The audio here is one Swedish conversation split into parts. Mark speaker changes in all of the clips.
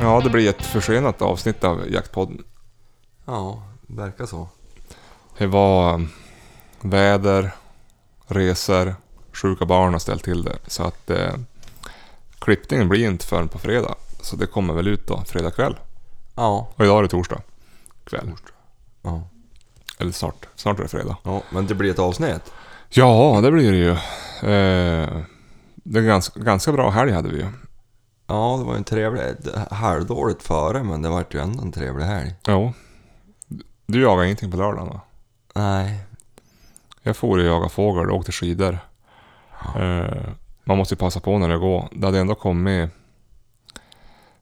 Speaker 1: Ja, det blir ett försenat avsnitt av Jaktpodden.
Speaker 2: Ja, verkar så.
Speaker 1: Det var eh, väder, resor, sjuka barn har ställt till det. Så att eh, klippningen blir inte förrän på fredag. Så det kommer väl ut då, fredag kväll.
Speaker 2: Ja.
Speaker 1: Och idag är det torsdag kväll.
Speaker 2: Ja.
Speaker 1: Eller snart. Snart är det fredag.
Speaker 2: ja, men det blir ett avsnitt.
Speaker 1: Ja, det blir det ju. Eh, det är ganska, ganska bra helg hade vi ju.
Speaker 2: Ja, det var ju en trevlig... ett Halvdåligt före, men det vart ju ändå en trevlig helg.
Speaker 1: Jo. Du jagar ingenting på lördagen va?
Speaker 2: Nej.
Speaker 1: Jag for och jagade fågel och åkte skidor. Eh, man måste ju passa på när det går. Det hade ändå kommit...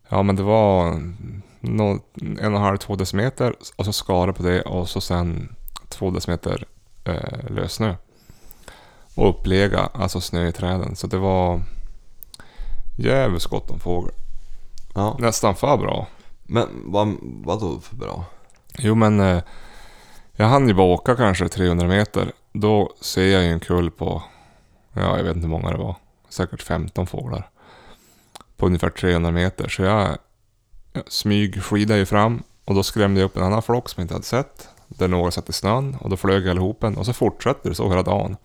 Speaker 1: Ja men det var nå- en och en halv, två decimeter och så skare på det och så sen två decimeter eh, lössnö. Och upplega, alltså snö i träden. Så det var jävligt gott om fågel.
Speaker 2: Ja.
Speaker 1: Nästan för bra.
Speaker 2: Men vad, vad då för bra?
Speaker 1: Jo men eh, jag hann ju bara åka kanske 300 meter. Då ser jag ju en kull på, ja jag vet inte hur många det var, säkert 15 fåglar. På ungefär 300 meter. Så jag, jag smygskidade ju fram och då skrämde jag upp en annan flock som jag inte hade sett. Där några satt i snön och då flög allihopen och så fortsatte det så hela dagen.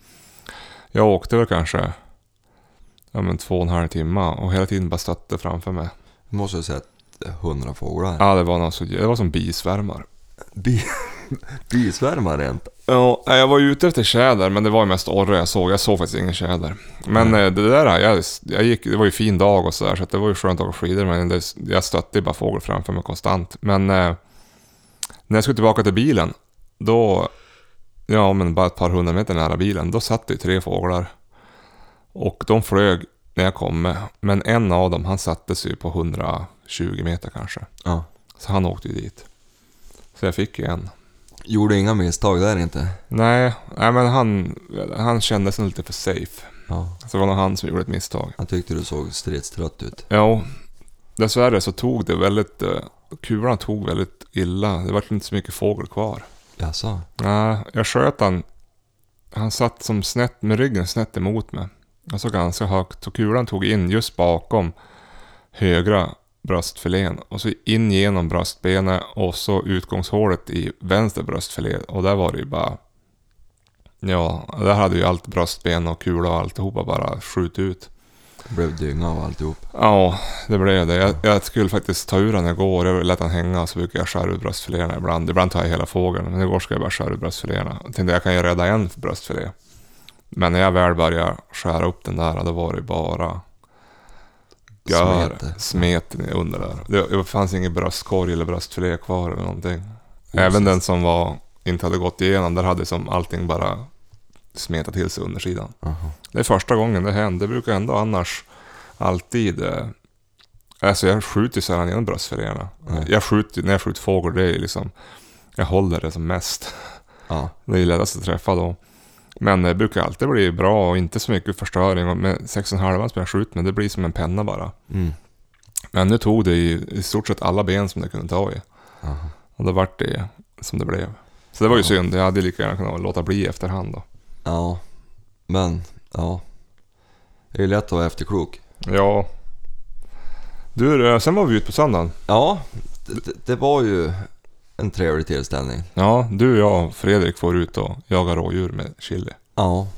Speaker 1: Jag åkte väl kanske ja, men två och en halv timme och hela tiden bara stötte framför mig.
Speaker 2: Du måste ju sett hundra fåglar.
Speaker 1: Ja, det var, någon så, det var som bisvärmar.
Speaker 2: Bi, bisvärmar rent.
Speaker 1: Ja, nej, jag var ju ute efter tjäder, men det var ju mest orre jag såg. Jag såg faktiskt ingen tjäder. Men eh, det där, jag, jag gick, det var ju fin dag och sådär, så att det var ju skönt att åka skidor, men det, jag stötte ju bara fågel framför mig konstant. Men eh, när jag skulle tillbaka till bilen, då, ja men bara ett par hundra meter nära bilen, då satt det ju tre fåglar. Och de flög när jag kom med, men en av dem, han sattes ju på 120 meter kanske.
Speaker 2: Ja.
Speaker 1: Så han åkte ju dit. Så jag fick ju en.
Speaker 2: Gjorde inga misstag där inte.
Speaker 1: Nej, nej men han, han kändes nog lite för safe.
Speaker 2: Ja.
Speaker 1: Så det var nog han som gjorde ett misstag.
Speaker 2: Jag tyckte du såg stridstrött ut.
Speaker 1: Ja, dessvärre så tog det väldigt... eh, Kulan tog väldigt illa. Det var inte så mycket fågel kvar.
Speaker 2: Jaså?
Speaker 1: Nej, jag sköt han. Han satt som snett med ryggen snett emot mig. Alltså ganska högt. Och kulan tog in just bakom högra bröstfilén. Och så in genom bröstbenet och så utgångshålet i vänster bröstfilé. Och där var det ju bara... Ja, där hade ju allt bröstben och kula och alltihopa bara skjut ut.
Speaker 2: Det blev dynga av alltihop.
Speaker 1: Ja, det blev det. Jag, jag skulle faktiskt ta ur den igår. Jag lät den hänga så brukar jag skära ur bröstfiléerna ibland. Ibland tar jag hela fågeln, men igår ska jag bara skära ur bröstfiléerna. Jag tänkte jag kan ju rädda en bröstfilé. Men när jag väl började skära upp den där, då var det bara... Gör,
Speaker 2: Smete.
Speaker 1: smeten under där. Det, det fanns ingen bröstkorg eller bröstfilé kvar eller någonting. Även
Speaker 2: Precis.
Speaker 1: den som var, inte hade gått igenom, där hade som allting bara smetat till sig undersidan.
Speaker 2: Aha.
Speaker 1: Det är första gången det händer. Det brukar ändå annars alltid... Eh, alltså jag skjuter ju sällan genom bröstfiléerna.
Speaker 2: Mm.
Speaker 1: Jag skjuter, när jag skjuter fågel, det är ju liksom... Jag håller det som mest.
Speaker 2: Ja.
Speaker 1: Det är ju lättast att träffa då. Men det brukar alltid bli bra och inte så mycket förstöring. Och Med 6,5 som jag skjuter med, det blir som en penna bara.
Speaker 2: Mm.
Speaker 1: Men nu tog det i, i stort sett alla ben som det kunde ta i.
Speaker 2: Aha.
Speaker 1: Och då vart det som det blev. Så det var ju
Speaker 2: Ja.
Speaker 1: synd. Jag hade ju lika gärna kunnat låta bli i efterhand då.
Speaker 2: Ja. Men, ja. Det är lätt att vara efterklok.
Speaker 1: Ja. Du, eh, sen var vi ute på söndagen.
Speaker 2: Ja, det, det- det var ju en trevlig tillställning.
Speaker 1: Ja, du, jag och Fredrik får ut och jagar rådjur med chili.
Speaker 2: Ja.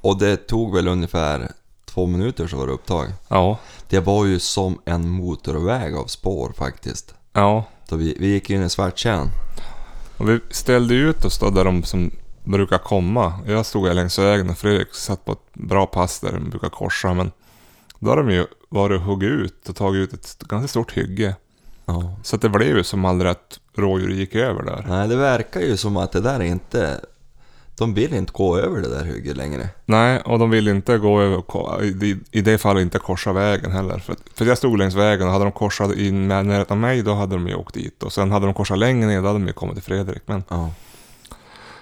Speaker 2: Och det tog väl ungefär två minuter så var det upptag.
Speaker 1: Ja.
Speaker 2: Det var ju som en motorväg av spår faktiskt.
Speaker 1: Ja.
Speaker 2: Så vi, vi gick in i Svarttjärn.
Speaker 1: Och vi ställde ut oss då där de som brukar komma. Jag stod här längs vägen och Fredrik satt på ett bra pass där de brukar korsa. Men då har de ju varit och huggit ut och tagit ut ett ganska stort hygge.
Speaker 2: Ja.
Speaker 1: Så att det blev ju som aldrig att rådjur gick över där.
Speaker 2: Nej, det verkar ju som att det där är inte... De vill inte gå över det där hygget längre.
Speaker 1: Nej, och de ville inte gå över, ko- i- i det fallet inte korsa vägen heller. För, att- för jag stod längs vägen och hade de korsat in med närheten av mig, då hade de ju åkt dit. Och sen hade de korsat längre ner, då hade de ju kommit till Fredrik. Men
Speaker 2: Ja.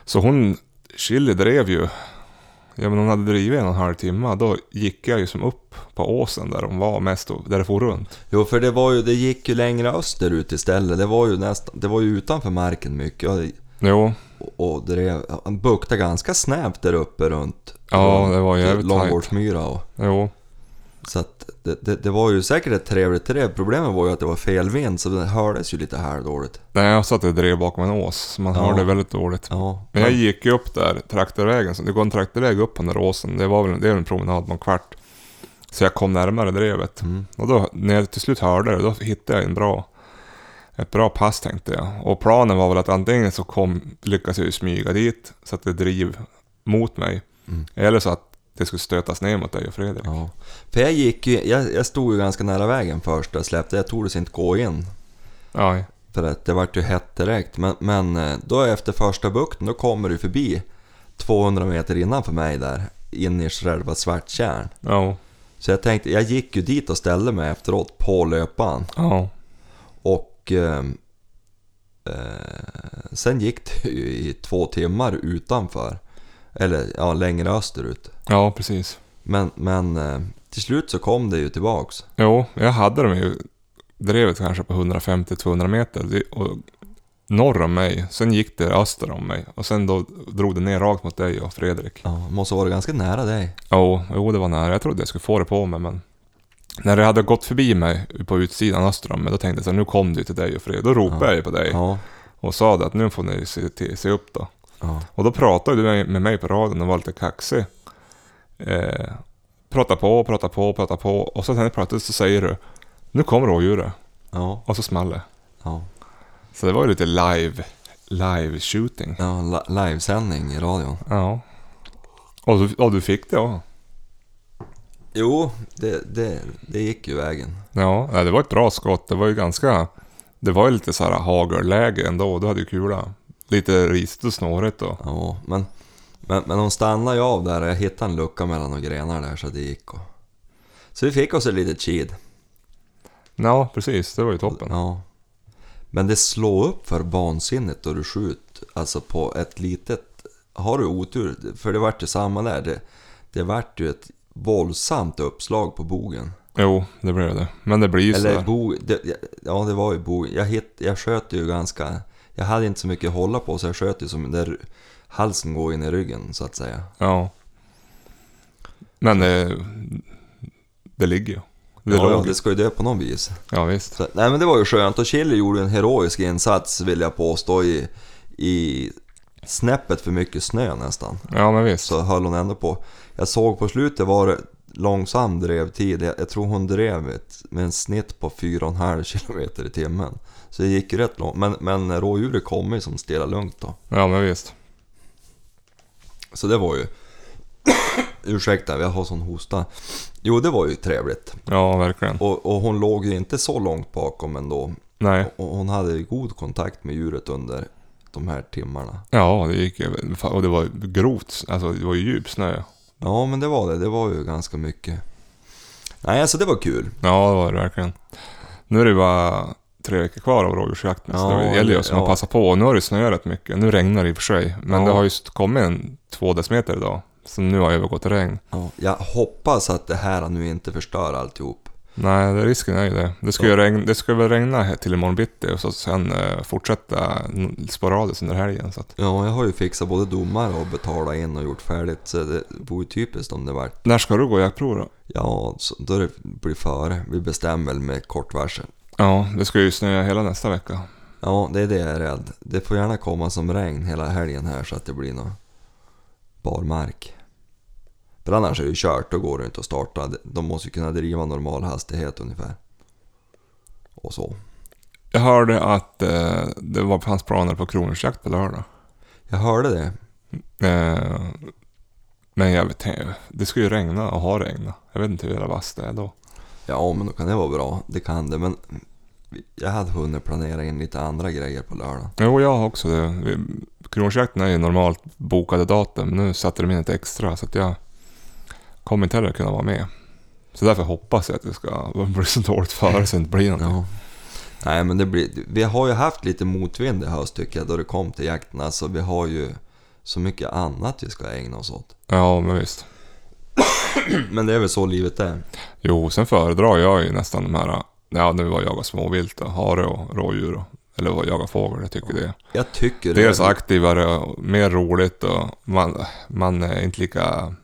Speaker 1: Så hon, Chili drev ju, ja men hon hade drivit en och en halv timme, då gick jag ju som upp på åsen där de var mest, och där det for runt.
Speaker 2: Jo, för det var ju... Det gick ju längre österut istället. Det var ju nästan... Det var ju utanför marken mycket. Och,
Speaker 1: Jo,
Speaker 2: och drev. Han buktade ganska snävt där uppe runt
Speaker 1: Ja, det var jävligt tajt.
Speaker 2: Långgårdsmyra. Och,
Speaker 1: Jo,
Speaker 2: så att det, det, det var ju säkert ett trevligt träd. Problemet var ju att det var fel vind så det hördes ju lite halvdåligt.
Speaker 1: nej, jag satt och drev bakom en ås. så Man
Speaker 2: Ja.
Speaker 1: hörde väldigt dåligt.
Speaker 2: Ja.
Speaker 1: Men jag gick ju upp där, traktorvägen. Så det går en traktorväg upp på den där åsen. Det var väl det är väl en promenad på en kvart. Så jag kom närmare drevet.
Speaker 2: Mm.
Speaker 1: Och då, när jag till slut hörde det, då hittade jag en bra, ett bra pass tänkte jag. Och planen var väl att antingen så kom, lyckas jag ju smyga dit så att det driv mot mig.
Speaker 2: Mm.
Speaker 1: Eller så att det skulle stötas ner mot dig och Fredrik.
Speaker 2: Ja. För jag gick ju, jag, jag stod ju ganska nära vägen först och släppte. Jag tordes inte gå in.
Speaker 1: Ja,
Speaker 2: För att det vart ju hett direkt. Men, men eh, då efter första bukten, då kommer du förbi 200 meter innanför mig där. In i själva Svartkärn.
Speaker 1: ja,
Speaker 2: Så jag tänkte, jag gick ju dit och ställde mig efteråt på löpan.
Speaker 1: ja.
Speaker 2: Och ehm, eh, sen gick det ju i två timmar utanför. Eller ja, längre österut.
Speaker 1: ja precis.
Speaker 2: Men, men eh, till slut så kom det ju tillbaks.
Speaker 1: Jo, jag hade dem ju drevet kanske på 150-200 meter Det- och norr om mig. Sen gick det öster om mig och sen då drog det ner rakt mot dig och Fredrik.
Speaker 2: Ja, måste vara ganska nära dig.
Speaker 1: Jo, jo det var nära. Jag trodde jag skulle få det på mig men när det hade gått förbi mig på utsidan öster om mig då tänkte jag så här, nu kom det ju till dig och Fredrik. Då ropade
Speaker 2: Ja.
Speaker 1: jag ju på dig
Speaker 2: Ja.
Speaker 1: och sa det att nu får ni se, till, se upp då.
Speaker 2: ja.
Speaker 1: Och då pratade du med mig på radion och var lite kaxig. Eh, prata på, prata på, prata på och så sen plötsligt så säger du nu kommer rådjuret
Speaker 2: Ja,
Speaker 1: och så small det.
Speaker 2: ja.
Speaker 1: Så det var ju lite live, live shooting.
Speaker 2: ja li- livesändning i radion.
Speaker 1: Ja. Och du, och du fick det också.
Speaker 2: Jo, det, det, det gick ju vägen.
Speaker 1: Ja, nej, det var ett bra skott. Det var ju ganska... Det var ju lite så här hagelläge ändå. Du hade ju kula. Lite risigt och snårigt då.
Speaker 2: Ja, men, men, men de stannade ju av där och jag hittade en lucka mellan några grenar där så det gick. Och... Så vi fick oss ett litet kid.
Speaker 1: Ja, precis. Det var ju toppen.
Speaker 2: Ja. Men det slår upp för vansinnigt då du skjut, alltså på ett litet... Har du otur, för det vart ju samma där. Det, det vart ju ett våldsamt uppslag på bogen.
Speaker 1: Jo, det blev det. Men det blir ju så
Speaker 2: Eller
Speaker 1: här.
Speaker 2: bo, det, ja det var ju bo. Jag, hit, jag sköt ju ganska... Jag hade inte så mycket att hålla på så jag sköt ju som där halsen går in i ryggen så att säga.
Speaker 1: Ja. Men det, det ligger ju. Det
Speaker 2: ja, ja,
Speaker 1: låg.
Speaker 2: det ska ju dö på någon vis.
Speaker 1: Ja, visst.
Speaker 2: Så, nej men det var ju skönt och Chile gjorde en heroisk insats vill jag påstå i, i snäppet för mycket snö nästan.
Speaker 1: Ja, men visst.
Speaker 2: Så höll hon ändå på. Jag såg på slutet var det långsam drevtid. Jag, jag tror hon drev ett, med en snitt på 4,5 km i timmen. Så det gick ju rätt långt. Men, men rådjuret kom ju som stela lugnt då.
Speaker 1: Ja, men visst.
Speaker 2: Så det var ju... Ursäkta, jag har sån hosta. Jo, det var ju trevligt.
Speaker 1: Ja, verkligen.
Speaker 2: Och, och hon låg ju inte så långt bakom ändå.
Speaker 1: Nej.
Speaker 2: Och hon hade ju god kontakt med djuret under de här timmarna.
Speaker 1: Ja, det gick ju. Fan, Och det var grovt. Alltså, det var ju djup snö.
Speaker 2: Ja, men det var det. Det var ju ganska mycket. Nej, alltså det var kul.
Speaker 1: Ja, det var det verkligen. Nu är det bara tre veckor kvar av rådjursjakten. så
Speaker 2: Ja,
Speaker 1: det gäller ju att
Speaker 2: ja.
Speaker 1: man passar på. Och nu har det snöat rätt mycket. Nu regnar det i och för sig. Men
Speaker 2: Ja.
Speaker 1: det har ju kommit en två decimeter idag. Som nu har övergått till regn.
Speaker 2: Ja, jag hoppas att det här nu inte förstör alltihop.
Speaker 1: Nej, det, risken är ju det. Det ska, ju regna, det ska väl regna här till imorgon bitti och så sen eh, fortsätta n- sporadiskt under helgen. Så att,
Speaker 2: Ja, jag har ju fixat både domar och betalat in och gjort färdigt. Så det vore ju typiskt om det vart...
Speaker 1: när ska du gå jaktprov då?
Speaker 2: Ja, så då det blir före. Vi bestämmer väl med kort varsel.
Speaker 1: Ja, det ska ju snöa hela nästa vecka.
Speaker 2: Ja, det är det jag är rädd. Det får gärna komma som regn hela helgen här så att det blir någon barmark. För annars är det ju kört, då går det inte att starta. De måste ju kunna driva normal hastighet ungefär. Och så.
Speaker 1: Jag hörde att eh, det var, fanns planer på kronhjortsjakt på lördag.
Speaker 2: Jag hörde det.
Speaker 1: Eh, men jag vet inte, det ska ju regna och har regnat. Jag vet inte hur jävla vass det är då.
Speaker 2: Ja, men då kan det vara bra. Det kan det. Men jag hade hunnit planera in lite andra grejer på lördagen.
Speaker 1: Jo, jag har också det. Vi- Kronhjortsjakten är ju normalt bokade datum. Nu satte de in ett extra så att jag kommer inte heller kunna vara med. Så därför hoppas jag att det ska bli så dåligt före så det inte blir någonting.
Speaker 2: Ja. Nej, men det blir... Vi har ju haft lite motvind i höst tycker jag, då det kom till jakten. Alltså, vi har ju så mycket annat vi ska ägna oss åt.
Speaker 1: Ja, men visst.
Speaker 2: Men det är väl så livet är.
Speaker 1: Jo, sen föredrar jag ju nästan de här... Ja, nu var jag och småvilt och hare och rådjur och Eller att jaga fågel, jag tycker det.
Speaker 2: Jag tycker
Speaker 1: Det är så
Speaker 2: är-
Speaker 1: aktivare och mer roligt och man, man är inte lika...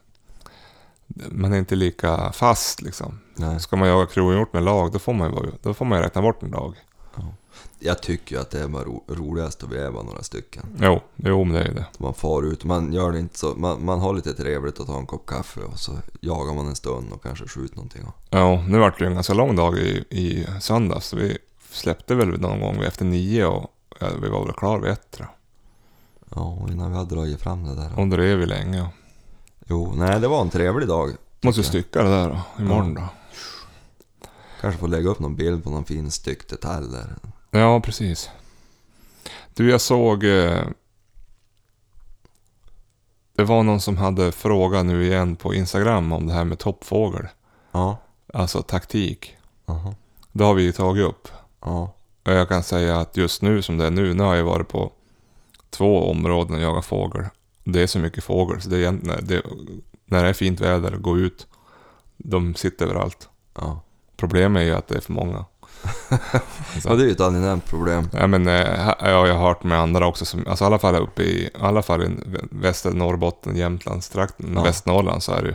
Speaker 1: Man är inte lika fast liksom.
Speaker 2: Nej.
Speaker 1: Ska man jaga kronhjort med lag, då får man ju, vara- då får man ju räkna bort en dag.
Speaker 2: Jag tycker ju att det är bara ro, roligast att vi är bara några stycken.
Speaker 1: Jo, jo men det är ju det.
Speaker 2: Man far ut, man gör det inte så... Man, man har lite trevligt och tar en kopp kaffe och så jagar man en stund och kanske skjuter någonting.
Speaker 1: Ja, nu vart det ju en ganska lång dag i, i söndags. så Vi släppte väl någon gång efter nio och ja, vi var väl klara vid ett tror jag.
Speaker 2: Ja, och innan vi hade dragit fram det där.
Speaker 1: Och då är vi länge. Och
Speaker 2: Jo, nej det var en trevlig dag.
Speaker 1: måste ju stycka det där då, imorgon då.
Speaker 2: Kanske får lägga upp någon bild på någon fin styckt detalj där.
Speaker 1: Ja, precis. Du, jag såg... eh, Det var någon som hade fråga nu igen på Instagram om det här med toppfågel.
Speaker 2: Ja.
Speaker 1: Alltså taktik.
Speaker 2: Aha.
Speaker 1: Det har vi ju tagit upp.
Speaker 2: Ja.
Speaker 1: Och jag kan säga att just nu som det är nu, nu har jag varit på två områden och jagat fågel. Det är så mycket fågel, så det är, egent- när det, när det är fint väder, gå ut. De sitter överallt.
Speaker 2: Ja.
Speaker 1: Problemet är ju att det är för många.
Speaker 2: ja, det är ju ett angenämt problem.
Speaker 1: Ja, men, eh, här- ja, jag har hört med andra också, som, alltså i alla fall uppe i, i, alla fall i vä- väster Norrbotten, Jämtlandstrakten,
Speaker 2: Ja.
Speaker 1: Västernorrland så är det ju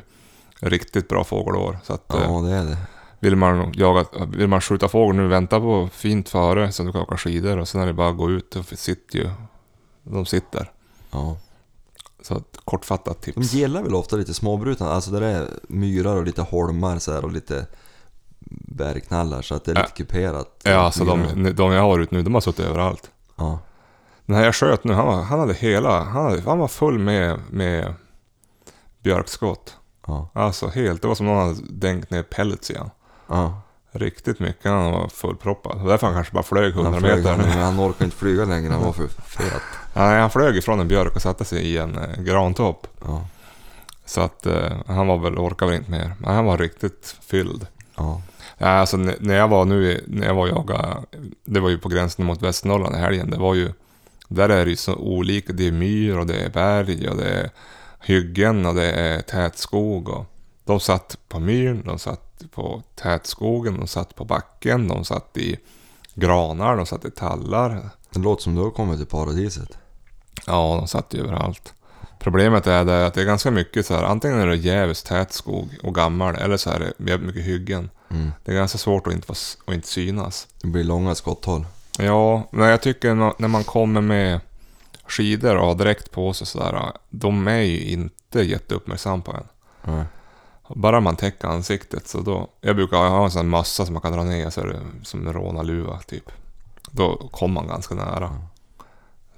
Speaker 1: riktigt bra fågelår. Så att, eh,
Speaker 2: Ja, det är det.
Speaker 1: vill, man jaga, vill man skjuta fågel nu, vänta på fint före så du kan åka skidor och sen är det bara att gå ut, och sitter ju, de sitter.
Speaker 2: Ja.
Speaker 1: Så ett kortfattat tips.
Speaker 2: De gillar väl ofta lite småbrutna, alltså där det är myrar och lite holmar så här och lite bergknallar så att det är lite kuperat.
Speaker 1: ja, alltså
Speaker 2: Myrarna.
Speaker 1: de, de jag har ut nu, de har suttit överallt.
Speaker 2: Ja.
Speaker 1: Den här jag sköt nu, han, var, han hade hela, han, hade, han var full med, med björkskott.
Speaker 2: Ja.
Speaker 1: Alltså helt, det var som någon hade dänkt ner pellets igen.
Speaker 2: Ja.
Speaker 1: Riktigt mycket, han var fullproppad. Så Därför han kanske bara flög 100
Speaker 2: Han, flög,
Speaker 1: meter.
Speaker 2: han, men han orkar inte flyga längre, han var för fet.
Speaker 1: Nej, han flög ifrån en björk och satte sig i en eh, grantopp.
Speaker 2: Ja.
Speaker 1: Så att eh, han var väl, orkade väl inte mer. Men han var riktigt fylld.
Speaker 2: Ja.
Speaker 1: Nej, alltså n- när jag var nu, i- när jag var och jagade, det var ju på gränsen mot Västernorrland i helgen. Det var ju, där är det ju så olika. Det är myr och det är berg och det är hyggen och det är tätskog. Och de satt på myren, de satt på tätskogen, de satt på backen, de satt i granar, de satt i tallar.
Speaker 2: Det låter som du har kommit till paradiset.
Speaker 1: Ja, de satt ju överallt. Problemet är det att det är ganska mycket så här, antingen är det djävulskt tät skog och gammal, eller så är det jävligt mycket hyggen.
Speaker 2: Mm.
Speaker 1: Det är ganska svårt att inte, vara s- att inte synas.
Speaker 2: Det blir långa skotthåll.
Speaker 1: Ja, men jag tycker när- när man kommer med skidor och har dräkt på sig sådär, de är ju inte jätteuppmärksamma på en.
Speaker 2: Ja.
Speaker 1: Bara man täcker ansiktet så då... Jag brukar ha en sån här mössa som man kan dra ner så är det som en rånarluva typ. Då kommer man ganska nära.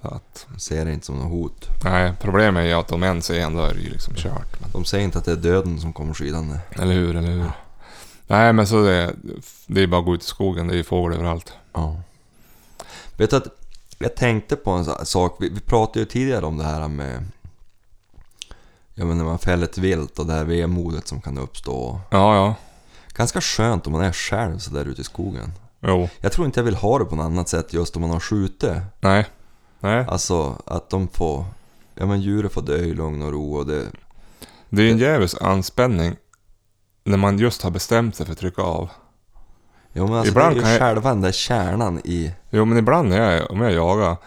Speaker 1: Så att,
Speaker 2: Ser det inte som något hot.
Speaker 1: nej, problemet är ju att om en ser en då är det ju liksom kört. Men,
Speaker 2: De säger inte att det är döden som kommer skidande.
Speaker 1: eller hur, eller hur. Nej, men så det, det är bara att gå ut i skogen, det är ju fågel överallt.
Speaker 2: Ja. Vet du att jag tänkte på en sa- sak. Vi, vi pratade ju tidigare om det här med... Ja men när man fäller ett vilt och det här vemodet som kan uppstå.
Speaker 1: Ja, ja.
Speaker 2: Ganska skönt om man är själv så där ute i skogen.
Speaker 1: Jo.
Speaker 2: Jag tror inte jag vill ha det på något annat sätt just om man har skjutit.
Speaker 1: Nej. Nej.
Speaker 2: Alltså att de får... Ja men djuren får dö i lugn och ro och det...
Speaker 1: Det är ju en djävulsk anspänning när man just har bestämt sig för att trycka av.
Speaker 2: Ja men alltså
Speaker 1: Ibland
Speaker 2: det är
Speaker 1: kan
Speaker 2: ju
Speaker 1: jag-
Speaker 2: själva den där kärnan i...
Speaker 1: Jo, men ibland när jag, om jag jagar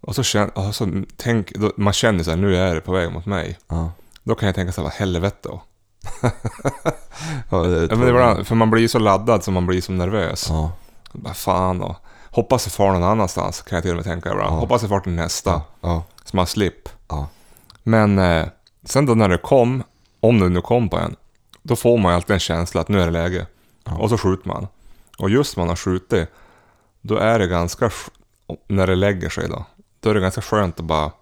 Speaker 1: och så känner, och så tänk, då, man känner så här, nu är det på väg mot mig.
Speaker 2: Ja.
Speaker 1: Då kan jag tänka så här, vad helvete då.
Speaker 2: Ja, det är
Speaker 1: Ja, men ibland, för man blir ju så laddad så man blir så nervös.
Speaker 2: Ja.
Speaker 1: Vad fan och hoppas jag far någon annanstans kan jag till och med tänka ibland. Hoppas jag far till nästa.
Speaker 2: Ja.
Speaker 1: Så man slipp.
Speaker 2: Ja.
Speaker 1: Men eh, sen då när det kom, om det nu kom på en, då får man ju alltid en känsla att nu är det läge. Och så skjuter man. Och just när man har skjutit, då är det ganska, sk- när det lägger sig då, då är det ganska skönt att bara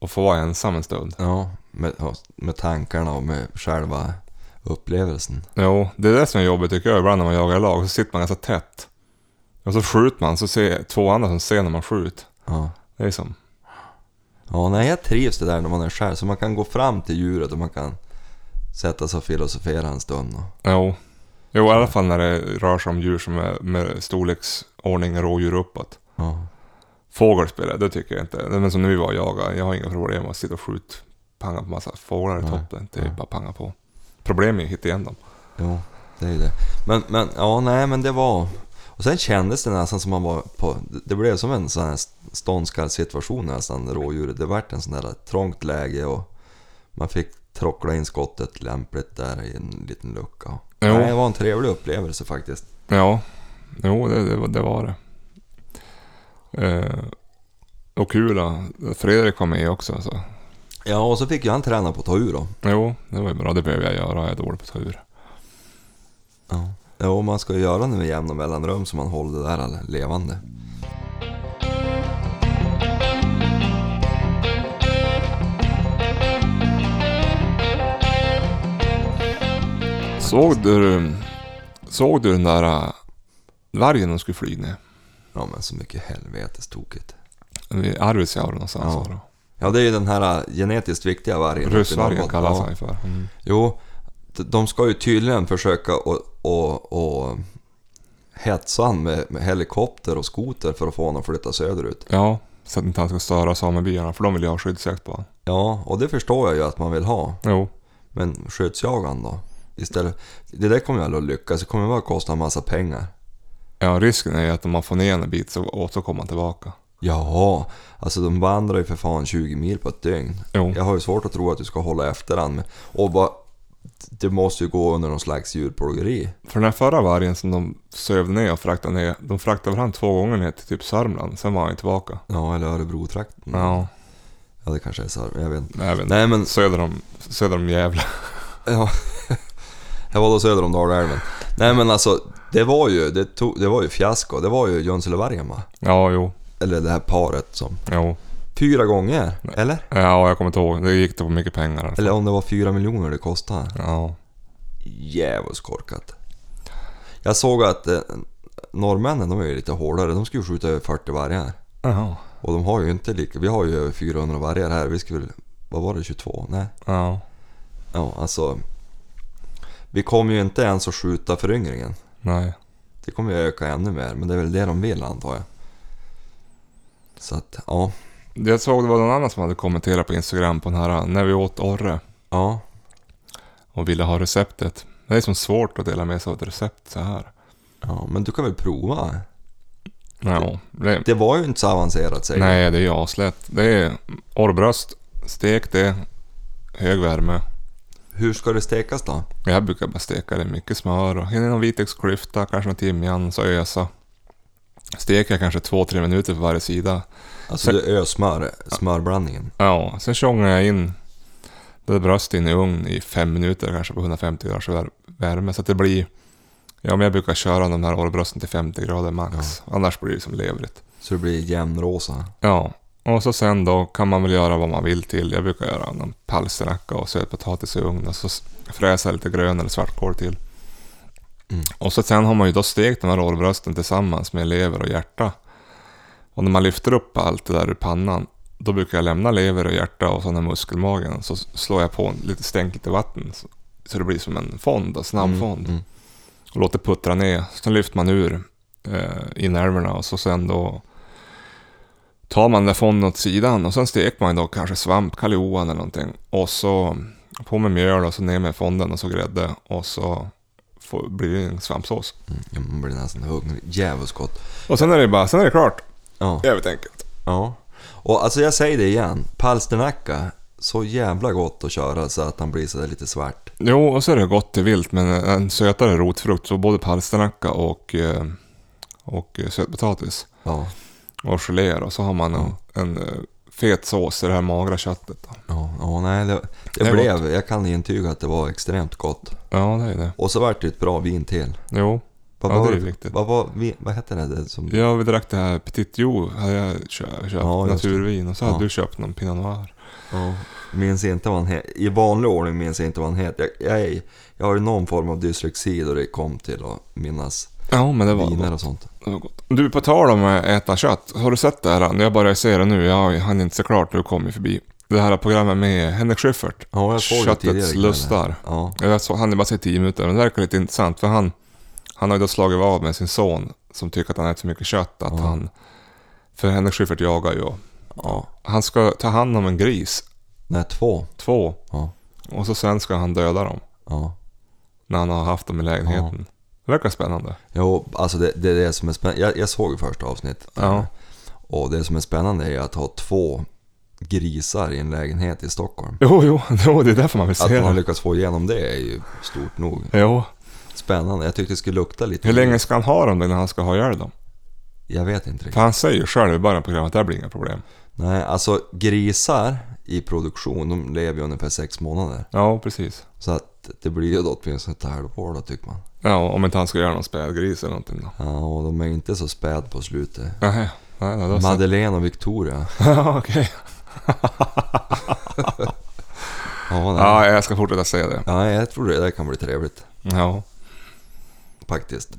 Speaker 1: att få vara ensam en stund.
Speaker 2: Ja, med, ja, med tankarna och med själva upplevelsen.
Speaker 1: Jo, det är det som är jobbigt tycker jag ibland när man jagar i lag, så sitter man ganska tätt. Och så skjuter man, så ser två andra som ser när man skjuter.
Speaker 2: Ja.
Speaker 1: Det är som,
Speaker 2: ja, nej jag trivs det där när man är själv. Så man kan gå fram till djuret och man kan sätta sig och filosofera en stund. Och,
Speaker 1: jo. Jo, i alla fall när det rör sig om djur som är med storleksordning rådjur uppåt.
Speaker 2: ja.
Speaker 1: Fågel spelar jag, det tycker jag inte. Men som när vi var och jagade, jag har inga problem med att sitta och skjuta, panga på massa fåglar i
Speaker 2: Nej,
Speaker 1: toppen. Det är
Speaker 2: nej.
Speaker 1: bara panga på. Problemet är ju att hitta igen dem.
Speaker 2: Jo, det är ju det. Men, men ja, nej men det var... Och sen kändes det nästan som man var på... Det blev som en sån här ståndskallssituation nästan, rådjuret. Det vart en sån där trångt läge och man fick trockla in skottet lämpligt där i en liten lucka.
Speaker 1: Jo.
Speaker 2: Nej, det var en trevlig upplevelse faktiskt.
Speaker 1: Ja, jo det, det, var- det var det. Eh, och kul då. Fredrik var med också. Så.
Speaker 2: Ja, och så fick ju han träna på att ta ur då.
Speaker 1: Jo, det var ju bra. Det behöver jag göra. Jag är dålig på att ta ur.
Speaker 2: Ja. ja, och man ska ju göra det med jämna mellanrum så man håller det där levande.
Speaker 1: Såg du, såg du den där äh, vargen de skulle flyga ner?
Speaker 2: Ja, men så mycket helvetes tokigt.
Speaker 1: Vid Arvidsjaur någonstans
Speaker 2: Ja.
Speaker 1: var det.
Speaker 2: Ja, det är ju den här äh, genetiskt viktiga vargen.
Speaker 1: Ryssvargen
Speaker 2: Uppe i
Speaker 1: kallas
Speaker 2: Norrbotten.
Speaker 1: han ju för. Mm.
Speaker 2: Ja. Jo, d- de ska ju tydligen försöka och, och, och hetsa han med, med helikopter och skoter för att få honom att flytta söderut.
Speaker 1: Ja, så att inte han ska störa samebyarna för de vill ju ha skyddsjakt på honom.
Speaker 2: Ja, och det förstår jag ju att man vill ha.
Speaker 1: Jo,
Speaker 2: Men skyddsjagaren då? Istället, det där kommer ju aldrig att lyckas. Det kommer bara att kosta en massa pengar.
Speaker 1: ja, risken är ju att om man får ner en bit så återkommer han tillbaka.
Speaker 2: Jaha, alltså de vandrar ju för fan 20 mil på ett dygn.
Speaker 1: Jo.
Speaker 2: Jag har ju svårt att tro att du ska hålla efter han. Och bara, det måste ju gå under någon slags djurplågeri.
Speaker 1: För den här förra vargen som de sövde ner och fraktade ner, de fraktade väl han två gånger ner till typ Sörmland, sen var han ju tillbaka.
Speaker 2: Ja, eller Örebrotrakten.
Speaker 1: Ja,
Speaker 2: ja, det kanske är så. här, Jag vet inte.
Speaker 1: jag vet inte.
Speaker 2: Nej men,
Speaker 1: Söder om, söder om Gävle.
Speaker 2: ja. jag var då söder om Dalälven. Nej men alltså, det var ju, det tog, det var ju fiasko. Det var ju Jönselevargen va?
Speaker 1: Ja, jo,
Speaker 2: Eller det här paret som...
Speaker 1: jo.
Speaker 2: Fyra gånger, eller?
Speaker 1: Ja, jag kommer inte ihåg. Det gick det på mycket pengar. i alla fall.
Speaker 2: Eller om det var fyra miljoner det kostade.
Speaker 1: Ja.
Speaker 2: Djävulskt korkat. Jag såg att eh, norrmännen de är ju lite hårdare. De skulle ju skjuta över 40 vargar.
Speaker 1: Jaha.
Speaker 2: Och de har ju inte lika... Vi har ju över 400 vargar här. Vi skulle... Vad var det? 22? Nej.
Speaker 1: Ja.
Speaker 2: Ja, alltså... Vi kommer ju inte ens att skjuta föryngringen.
Speaker 1: Nej.
Speaker 2: Det kommer ju öka ännu mer. Men det är väl det de vill antar jag. Så att, ja.
Speaker 1: Jag såg det var någon annan som hade kommenterat på Instagram på den här när vi åt orre
Speaker 2: Ja.
Speaker 1: och ville ha receptet. Det är som svårt att dela med sig av ett recept så här.
Speaker 2: Ja, men du kan väl prova?
Speaker 1: Ja, det,
Speaker 2: Det var ju inte så avancerat säger du.
Speaker 1: nej, det är ju aslätt. Det är orrbröst, stek det, hög värme.
Speaker 2: Hur ska det stekas då?
Speaker 1: Jag brukar bara steka det i mycket smör och hinner någon vitlöksklyfta, kanske någon timjan, så ösa. Steker jag kanske två, tre minuter på varje sida.
Speaker 2: Alltså
Speaker 1: Sen-
Speaker 2: du ösmör smörblandningen.
Speaker 1: Ja, sen tjongar jag in det där bröstet in i ugn i fem minuter kanske på 150 graders vär- värme. Så att det blir... Ja, men jag brukar köra de här orrbrösten till 50 grader max. Annars blir det som levrigt.
Speaker 2: Så det blir jämnrosa.
Speaker 1: Ja, och så sen då kan man väl göra vad man vill till. Jag brukar göra någon palsternacka och sötpotatis i ugn och så s- fräsa lite grön eller svartkål till.
Speaker 2: Mm.
Speaker 1: Och så sen har man ju då stekt de här orrbrösten tillsammans med lever och hjärta. Och när man lyfter upp allt det där ur pannan, då brukar jag lämna lever och hjärta och sådana muskelmagen. Så s- slår jag på en, lite, stänk lite vatten så, så det blir som en fond, en snabbfond
Speaker 2: Mm, mm.
Speaker 1: och låter puttra ner. Sen lyfter man ur eh, inälvorna och så sen då tar man den där fonden åt sidan och sen steker man då kanske svamp, kalioan eller någonting. Och så på med mjöl och så ner med fonden och så grädde och så får, blir det en svampsås.
Speaker 2: mm. Ja, man blir nästan hungrig. Djävulskt gott.
Speaker 1: Och sen är det bara, sen är det klart.
Speaker 2: Ja.
Speaker 1: Jävligt enkelt.
Speaker 2: ja. Och alltså jag säger det igen. Palsternacka. Så jävla gott att köra så att han blir sådär lite svart.
Speaker 1: Jo, och så är det gott till vilt men en sötare rotfrukt. Så både palsternacka och, eh, och eh, sötpotatis.
Speaker 2: Ja.
Speaker 1: och geléer och så har man en, en eh, fet sås i det här magra köttet. Då.
Speaker 2: Ja, ja nej det, det,
Speaker 1: Det är
Speaker 2: blev... Jag kan intyga att det var extremt gott.
Speaker 1: Ja, det är det.
Speaker 2: Och så vart det ett bra vin till.
Speaker 1: Jo,
Speaker 2: Vad
Speaker 1: ja,
Speaker 2: var
Speaker 1: det är
Speaker 2: för-
Speaker 1: viktigt.
Speaker 2: Vad, var vin, vad hette det? det som,
Speaker 1: Ja, vi drack det här Petit Jo, hade jag kö- köpt,
Speaker 2: Ja, just det.
Speaker 1: naturvin. Och så hade
Speaker 2: Ja.
Speaker 1: du köpt någon Pinot Noir.
Speaker 2: ja. Minns inte vad han het, I vanlig ordning minns jag inte vad han heter. Jag, jag, är- jag har ju någon form av dyslexi då det kom till att minnas
Speaker 1: Ja, men det var,
Speaker 2: viner och sånt.
Speaker 1: det var gott. Du, på tal om att äta kött. Har du sett det här? Nu, Jag börjar se det nu. Jag hann inte se klart när du kom ju förbi. Det här programmet med Henrik Schyffert.
Speaker 2: Ja, jag såg det tidigare
Speaker 1: Köttets
Speaker 2: ikväll.
Speaker 1: lustar.
Speaker 2: Ja.
Speaker 1: Jag såg, han är bara sett 10 minuter, men det verkar lite intressant för han, han har ju då slagit vad med sin son som tycker att han äter för mycket kött. Att
Speaker 2: Ja.
Speaker 1: han, för Henrik Schyffert jagar ju.
Speaker 2: Ja.
Speaker 1: Han ska ta hand om en gris,
Speaker 2: Nej, två.
Speaker 1: två,
Speaker 2: Ja.
Speaker 1: och så sen ska han döda dem
Speaker 2: Ja.
Speaker 1: när han har haft dem i lägenheten. Det verkar spännande.
Speaker 2: Jo, alltså det, det är det som är spännande. Jag, jag såg ju första avsnittet.
Speaker 1: Ja.
Speaker 2: Och det som är spännande är att ha två grisar i en lägenhet i Stockholm.
Speaker 1: Jo, jo, jo det är därför man liksom- vill
Speaker 2: Att
Speaker 1: se
Speaker 2: man har
Speaker 1: det.
Speaker 2: lyckats få igenom det är ju stort nog.
Speaker 1: Jo.
Speaker 2: Spännande. Jag tyckte det skulle lukta lite.
Speaker 1: Hur länge ska han ha dem innan han ska ha ihjäl dem?
Speaker 2: Jag vet inte
Speaker 1: För
Speaker 2: riktigt.
Speaker 1: han säger ju själv i början av programmet att det här blir inga problem.
Speaker 2: Nej, alltså grisar i produktion, de lever ju ungefär sex månader.
Speaker 1: Ja, precis.
Speaker 2: Så att det blir ju då åtminstone ett halvår då tycker man.
Speaker 1: Ja, om inte han ska göra någon spädgris eller någonting då.
Speaker 2: Ja, och de är inte så späd på slutet.
Speaker 1: Nej, nej, nej. då så.
Speaker 2: Madeleine och Victoria.
Speaker 1: Ja, okej.
Speaker 2: Ja, nej.
Speaker 1: Ja, jag ska fortsätta säga det.
Speaker 2: ja, jag tror det där kan bli trevligt
Speaker 1: Ja.
Speaker 2: faktiskt.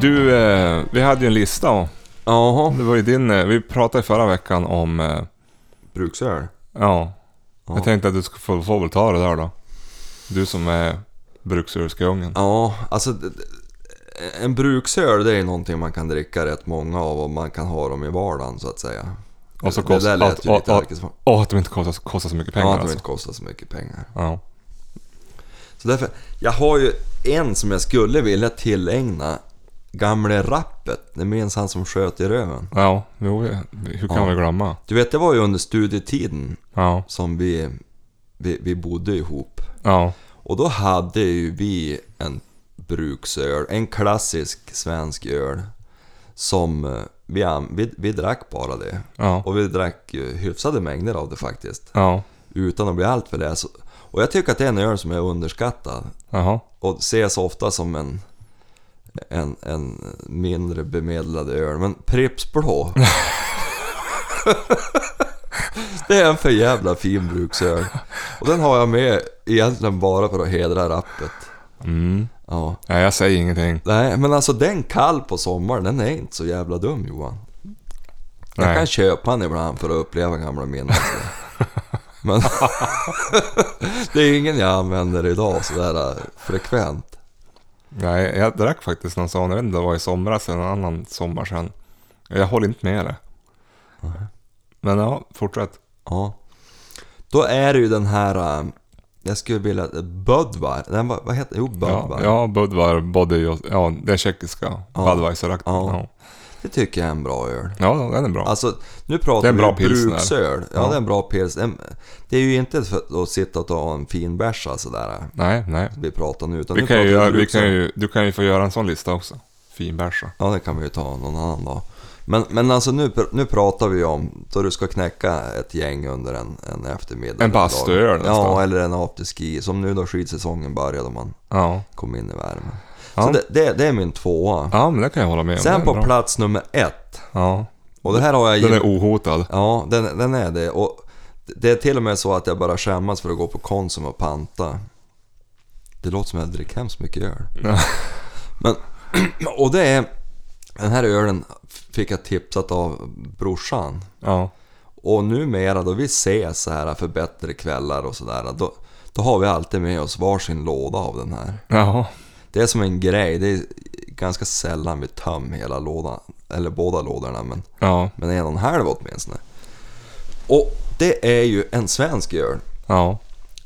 Speaker 1: Du, eh, vi hade ju en lista. och
Speaker 2: Jaha,
Speaker 1: Det var ju din... eh, Vi pratade förra veckan om... eh,
Speaker 2: bruksöl.
Speaker 1: Ja.
Speaker 2: Ja.
Speaker 1: Jag tänkte att du ska få, få väl ta det där då. Du som är bruksurskungen.
Speaker 2: Ja, alltså d- d- en bruksöl det är ju någonting man kan dricka rätt många av och man kan ha dem i vardagen så att säga.
Speaker 1: Och så
Speaker 2: det, det
Speaker 1: kost-
Speaker 2: där lät ju
Speaker 1: att-
Speaker 2: lite
Speaker 1: att-
Speaker 2: alkisvarmt.
Speaker 1: Åh, att de inte kostar, kostar så mycket pengar
Speaker 2: Ja, att de
Speaker 1: alltså.
Speaker 2: inte kostar så mycket pengar.
Speaker 1: Ja.
Speaker 2: Så därför, jag har ju en som jag skulle vilja tillägna gamle Rappet, ni minns han som sköt i röven?
Speaker 1: Ja, jo, vi- hur kan
Speaker 2: Ja.
Speaker 1: vi glömma?
Speaker 2: Du vet, det var ju under studietiden
Speaker 1: Ja,
Speaker 2: som vi, vi, vi bodde ihop.
Speaker 1: ja,
Speaker 2: Och då hade ju vi en bruksöl, en klassisk svensk öl. Som eh, vi, an- vi, vi drack bara det.
Speaker 1: ja,
Speaker 2: Och vi drack ju hyfsade mängder av det faktiskt.
Speaker 1: ja,
Speaker 2: Utan att bli alltför läs. Och jag tycker att det är en öl som är underskattad.
Speaker 1: jaha,
Speaker 2: Och ses ofta som en, en, en mindre bemedlad öl. Men Pripps Blå. det är en för jävla fin bruksöl. Och den har jag med egentligen bara för att hedra rappet.
Speaker 1: mm.
Speaker 2: Ja.
Speaker 1: Ja, jag säger ingenting.
Speaker 2: Nej, men alltså den kall på sommaren, den är inte så jävla dum Johan. Jag
Speaker 1: Nej.
Speaker 2: kan köpa den ibland för att uppleva gamla minnen. alltså. Men det är ingen jag använder idag sådär eh, frekvent.
Speaker 1: Nej, jag drack faktiskt någon sån, jag vet inte, det var i somras eller någon annan sommar sedan. Jag håller inte med det. Men ja, fortsätt.
Speaker 2: Ja. Då är det ju den här... eh, Jag skulle vilja... Budvar. Den, vad, vad heter Jo,
Speaker 1: Ja,
Speaker 2: Budvar.
Speaker 1: ja Budvar, Body och, ja, den tjeckiska
Speaker 2: Ja.
Speaker 1: Budweiser-akten. Ja.
Speaker 2: Ja. Det tycker jag är en bra öl.
Speaker 1: ja, den är bra.
Speaker 2: Alltså, nu
Speaker 1: Det är
Speaker 2: pratar
Speaker 1: en
Speaker 2: vi
Speaker 1: bra
Speaker 2: ju
Speaker 1: pilsner.
Speaker 2: bruksöl. Ja,
Speaker 1: Ja.
Speaker 2: det är en bra pils. En- Det är ju inte för att sitta och ta en fin bärsa sådär. äh,
Speaker 1: nej, nej.
Speaker 2: Vi pratar nu. Utan
Speaker 1: Vi
Speaker 2: nu
Speaker 1: kan
Speaker 2: pratar
Speaker 1: ju, göra- vi
Speaker 2: bruksöl.
Speaker 1: kan ju, du kan ju få göra en sån lista också. Finbärsa.
Speaker 2: Ja, det kan vi ju ta någon annan dag. Men, men alltså nu, pr- nu pratar vi om då du ska knäcka ett gäng under en, en eftermiddag.
Speaker 1: En
Speaker 2: eller dag.
Speaker 1: bastuöl nästan.
Speaker 2: Ja, eller en afterski. Som nu då skidsäsongen började och man
Speaker 1: Ja.
Speaker 2: kom in i värmen.
Speaker 1: Ja.
Speaker 2: Så det, det, det är min tvåa.
Speaker 1: ja, men det kan jag hålla med om.
Speaker 2: Sen
Speaker 1: Den är
Speaker 2: på
Speaker 1: bra.
Speaker 2: plats nummer ett.
Speaker 1: Ja,
Speaker 2: Och det här har jag
Speaker 1: den
Speaker 2: giv-
Speaker 1: är ohotad.
Speaker 2: Ja, den, den är det. Och det är till och med så att jag bara skämmas för att gå på Konsum och panta. Det låter som att jag dricker hemskt mycket öl.
Speaker 1: Ja.
Speaker 2: Men, och det är... Den här ölen fick jag tipsat av brorsan.
Speaker 1: Ja,
Speaker 2: Och numera då vi ses så här för bättre kvällar och sådär. Då, då har vi alltid med oss varsin låda av den här.
Speaker 1: ja,
Speaker 2: Det är som en grej. Det är ganska sällan vi tömmer hela lådan. Eller båda lådorna men...
Speaker 1: ja,
Speaker 2: Men en och en halv åtminstone. Och det är ju en svensk öl
Speaker 1: ja.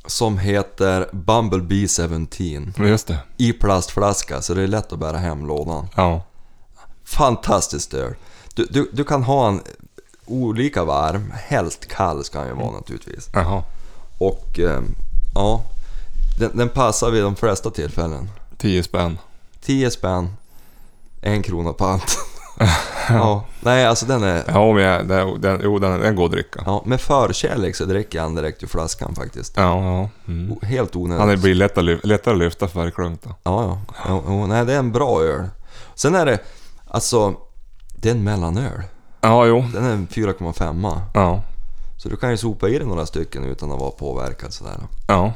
Speaker 2: som heter Bumblebee 17
Speaker 1: Men just det.
Speaker 2: i plastflaska så det är lätt att bära hem lådan.
Speaker 1: Ja,
Speaker 2: Fantastiskt öl! Du, du, du kan ha en olika varm, helst kall ska den ju vara naturligtvis.
Speaker 1: jaha.
Speaker 2: Och eh, ja, den, den passar vid de flesta tillfällen.
Speaker 1: 10 spänn.
Speaker 2: 10 spänn, en krona pant. ja, nej alltså den är...
Speaker 1: Ja, men jag, den, den, jo, den, den går att dricka.
Speaker 2: Ja, med förkärlek så dricker jag den direkt ur flaskan faktiskt.
Speaker 1: Ja, ja. Mm.
Speaker 2: O- Helt onödigt.
Speaker 1: Han blir lätt att lyf- lättare att lyfta för varje klunk då.
Speaker 2: Ja, ja. Jo, jo, nej, det är en bra öl. Sen är det, alltså, det är en mellanöl.
Speaker 1: Ja, jo.
Speaker 2: Den är en 4,5.
Speaker 1: Ja,
Speaker 2: Så du kan ju sopa i dig några stycken utan att vara påverkad sådär.
Speaker 1: ja.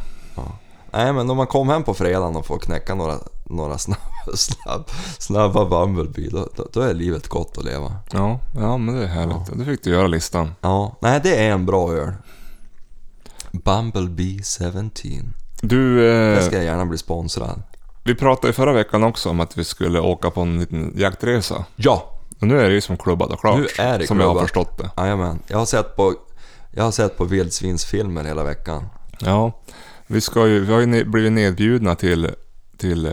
Speaker 2: Nej, men om man kom hem på fredagen och får knäcka några, några snabba, snabb, snabba Bumblebee, då, då, då är livet gott att leva.
Speaker 1: Ja, ja men det är härligt. Du fick du göra listan.
Speaker 2: Ja, nej, det är en bra öl. Bumblebee 17.
Speaker 1: Du,
Speaker 2: Den
Speaker 1: eh,
Speaker 2: ska jag gärna bli sponsrad.
Speaker 1: vi pratade ju förra veckan också om att vi skulle åka på en liten jaktresa.
Speaker 2: Ja!
Speaker 1: Men nu är det ju som klubbat och klart.
Speaker 2: Nu är det
Speaker 1: som jag har
Speaker 2: klubbat.
Speaker 1: förstått det.
Speaker 2: Jajamän. Jag har sett på, jag har sett på vildsvinsfilmer hela veckan.
Speaker 1: Ja, vi, ska ju, vi har ju ne- blivit nedbjudna till, till, eh,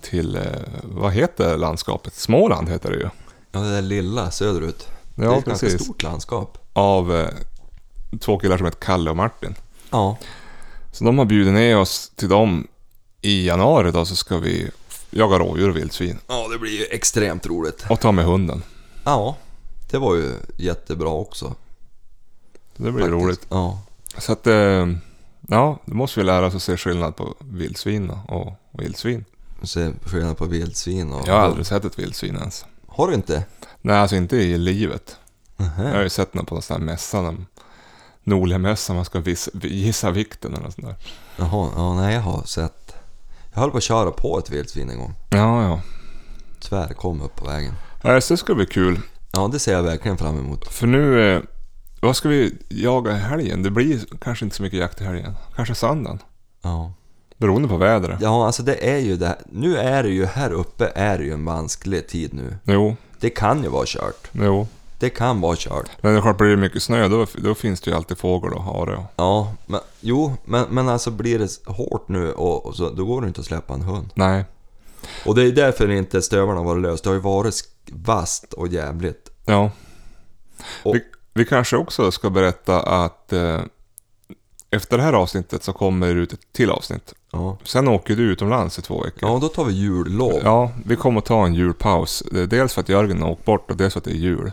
Speaker 1: till, eh, vad heter landskapet? Småland heter det ju.
Speaker 2: Ja, det där lilla söderut. det är
Speaker 1: Ja,
Speaker 2: ett ganska
Speaker 1: precis.
Speaker 2: stort landskap.
Speaker 1: Av eh, två killar som heter Kalle och Martin.
Speaker 2: Ja.
Speaker 1: Så de har bjudit ner oss till dem i januari då så ska vi jaga rådjur och vildsvin.
Speaker 2: Ja, det blir ju extremt roligt.
Speaker 1: Och ta med hunden.
Speaker 2: Ja, det var ju jättebra också.
Speaker 1: Det blir
Speaker 2: faktiskt.
Speaker 1: roligt.
Speaker 2: Ja.
Speaker 1: Så att, eh, ja, då måste vi lära oss att se skillnad på vildsvin och vildsvin.
Speaker 2: Se skillnad på vildsvin och...
Speaker 1: Jag har aldrig sett ett vildsvin ens.
Speaker 2: Har du inte?
Speaker 1: Nej, alltså inte i livet. Jag har
Speaker 2: Nähä.
Speaker 1: ju sett något på någon sån här mässa, någon Norlemössa, man ska vis- gissa vikten eller något sånt där.
Speaker 2: Jaha, ja nej jag har sett. Jag höll på att köra på ett vildsvin en gång.
Speaker 1: Ja, ja.
Speaker 2: Tyvärr kom upp på vägen.
Speaker 1: Nej, så det ska bli kul.
Speaker 2: Ja, det ser jag verkligen fram emot.
Speaker 1: För nu, eh, vad ska vi jaga i helgen? Det blir kanske inte så mycket jakt i helgen. Kanske söndagen.
Speaker 2: Ja.
Speaker 1: Beroende på vädret.
Speaker 2: Ja, alltså det är ju det. Nu är det ju här uppe är det ju en vansklig tid nu.
Speaker 1: Jo,
Speaker 2: Det kan ju vara kört.
Speaker 1: jo.
Speaker 2: Det kan vara kört.
Speaker 1: Men det är klart, blir det mycket snö då, då finns det ju alltid fågel och hare. och-
Speaker 2: Ja, men jo, men, men alltså blir det hårt nu och, och så, då går det inte att släppa en hund.
Speaker 1: Nej,
Speaker 2: Och det är därför inte stövarna har varit löst. Det har ju varit sk- vasst och jävligt.
Speaker 1: ja.
Speaker 2: Och-
Speaker 1: Vi, vi kanske också ska berätta att eh, efter det här avsnittet så kommer det ut ett till avsnitt.
Speaker 2: Ja.
Speaker 1: Sen åker du utomlands i två veckor.
Speaker 2: Ja, då tar vi jullov. Ja.
Speaker 1: Ja, vi kommer att ta en julpaus. Det är Dels för att Jörgen har åkt bort och dels för att det är jul.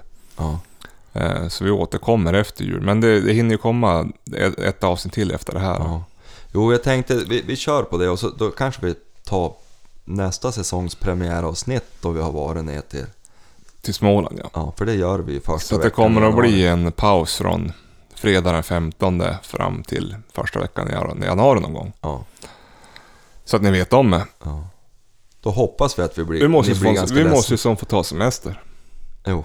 Speaker 1: Eh, Så vi återkommer efter jul. Men det, det hinner ju komma ett, ett avsnitt till efter det här.
Speaker 2: Ja. Jo, jag tänkte vi, vi kör på det och så då kanske vi tar nästa säsongs premiäravsnitt då vi har varit ner till.
Speaker 1: Till Småland ja.
Speaker 2: Ja, för det gör vi ju första
Speaker 1: Så att det
Speaker 2: veckan i
Speaker 1: kommer att
Speaker 2: januari.
Speaker 1: bli en paus från fredag den 15 fram till första veckan i januari- januari någon gång.
Speaker 2: Ja,
Speaker 1: Så att ni vet om det.
Speaker 2: ja. Då hoppas vi att vi blir,
Speaker 1: Vi måste,
Speaker 2: ni
Speaker 1: ju
Speaker 2: blir
Speaker 1: få,
Speaker 2: ganska
Speaker 1: vi
Speaker 2: ledsna.
Speaker 1: måste ju som få ta semester.
Speaker 2: Jo.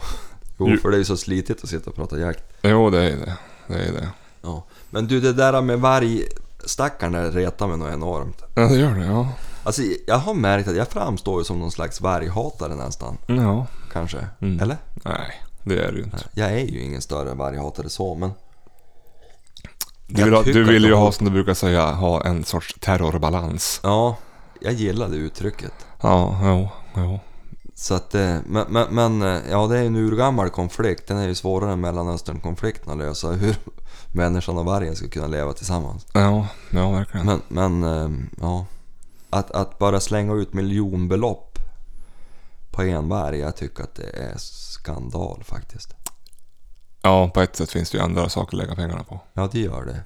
Speaker 2: jo,
Speaker 1: Ju-
Speaker 2: för det är ju så slitigt att sitta och prata jakt.
Speaker 1: Jo, det är det. Det är det.
Speaker 2: Ja. Men du, det där med vargstackaren där retar mig nog enormt.
Speaker 1: Ja, det gör det. Ja.
Speaker 2: Alltså, jag har märkt att jag framstår ju som någon slags varghatare nästan.
Speaker 1: ja.
Speaker 2: Kanske.
Speaker 1: Mm.
Speaker 2: Eller?
Speaker 1: Nej, det är det ju inte.
Speaker 2: Jag är ju ingen större varghatare så, men...
Speaker 1: Du
Speaker 2: Jag
Speaker 1: vill, ha-
Speaker 2: tycker
Speaker 1: du vill
Speaker 2: att
Speaker 1: ju
Speaker 2: de-
Speaker 1: ha, som du brukar säga, ha en sorts terrorbalans.
Speaker 2: Ja, jag gillar det uttrycket.
Speaker 1: Ja, jo, jo.
Speaker 2: Så att, eh, men, men, men eh, ja, det är en urgammal konflikt. Den är ju svårare än Mellanösternkonflikten att lösa. Hur människan och vargen ska kunna leva tillsammans.
Speaker 1: Ja, ja verkligen.
Speaker 2: Men, men eh, ja. Att, att bara slänga ut miljonbelopp på en varg. Jag tycker att det är skandal faktiskt.
Speaker 1: Ja, på ett sätt finns det ju andra saker att lägga pengarna på.
Speaker 2: Ja, det gör det.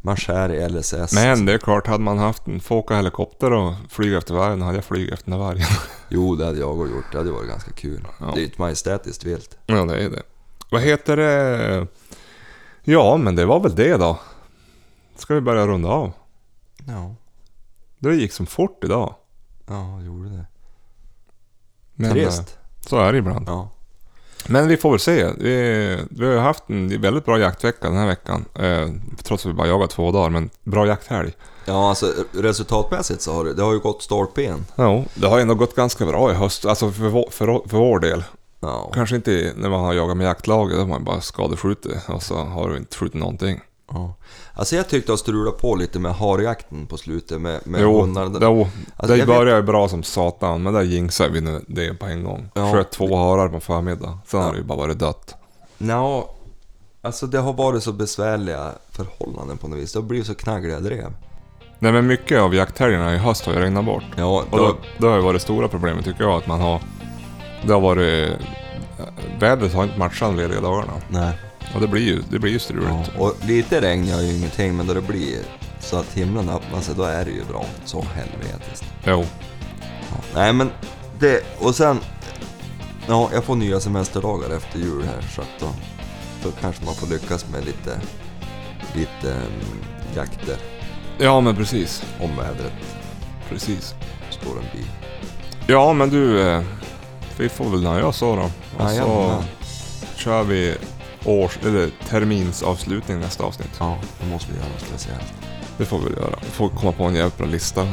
Speaker 2: Man skär i LSS.
Speaker 1: Men det är klart, hade man haft en, få åka helikopter och flyga efter vargen, då hade jag flugit efter den där vargen.
Speaker 2: Jo, det hade jag och gjort. Det hade varit ganska kul.
Speaker 1: Ja.
Speaker 2: Det är ju ett majestätiskt vilt.
Speaker 1: ja, det är det. Vad heter det? Ja, men det var väl det då. Ska vi börja runda av?
Speaker 2: Ja,
Speaker 1: Det gick som fort idag.
Speaker 2: ja, jag gjorde det.
Speaker 1: Men, eh,
Speaker 2: Trist.
Speaker 1: Så är det ibland.
Speaker 2: Ja.
Speaker 1: Men vi får väl se. Vi, vi har ju haft en väldigt bra jaktvecka den här veckan. Eh, trots att vi bara jagat två dagar, men bra jakthelg.
Speaker 2: Ja, alltså resultatmässigt så har det, det har ju gått stolpe in.
Speaker 1: Ja, det har ändå gått ganska bra i höst, alltså för vår, för, vår- för vår del.
Speaker 2: Ja.
Speaker 1: Kanske inte när man har jagat med jaktlaget, då har man bara skadeskjutit och så har du inte skjutit någonting.
Speaker 2: ja. Alltså jag tyckte att strula på lite med harjakten på slutet med, med
Speaker 1: jo,
Speaker 2: hundarna.
Speaker 1: jo
Speaker 2: Alltså,
Speaker 1: det
Speaker 2: jag
Speaker 1: började ju bra som satan, men där jinxade vi nu det på en gång.
Speaker 2: Ja.
Speaker 1: Sköt två harar på förmiddagen, sen
Speaker 2: Ja.
Speaker 1: har det ju bara varit dött.
Speaker 2: Nja, alltså det har varit så besvärliga förhållanden på något vis. Det har blivit så knaggliga drev.
Speaker 1: Nej men mycket av jakthelgerna i höst har ju regnat bort.
Speaker 2: Ja,
Speaker 1: Och då, det har ju varit det stora problemet tycker jag, att man har... Det har varit... Vädret har inte matchat de lediga dagarna.
Speaker 2: nej.
Speaker 1: Och det blir ju, det blir ju
Speaker 2: Ja.
Speaker 1: struligt.
Speaker 2: Och lite regn gör ju ingenting, men då det blir så att himlen öppnar sig, då är det ju bra. Så helvetiskt.
Speaker 1: Jo.
Speaker 2: Ja. Nej men, det, och sen... Ja, jag får nya semesterdagar efter jul här så att då, då kanske man får lyckas med lite, lite um, jakter
Speaker 1: Ja men precis.
Speaker 2: om vädret
Speaker 1: Precis.
Speaker 2: står en bi.
Speaker 1: Ja men du... eh, Vi får väl nöja oss så då. Och
Speaker 2: Alltså,
Speaker 1: så
Speaker 2: Jajamän.
Speaker 1: kör vi års... Eller terminsavslutning nästa avsnitt.
Speaker 2: Ja, då måste vi göra något speciellt.
Speaker 1: Det får vi väl göra. Vi får komma på en jävla lista.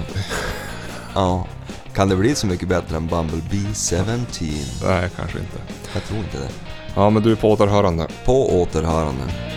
Speaker 2: Ja. Kan det bli så mycket bättre än Bumblebee 17?
Speaker 1: Nej, kanske inte.
Speaker 2: Jag tror inte det.
Speaker 1: Ja, men du är på återhörande.
Speaker 2: På återhörande.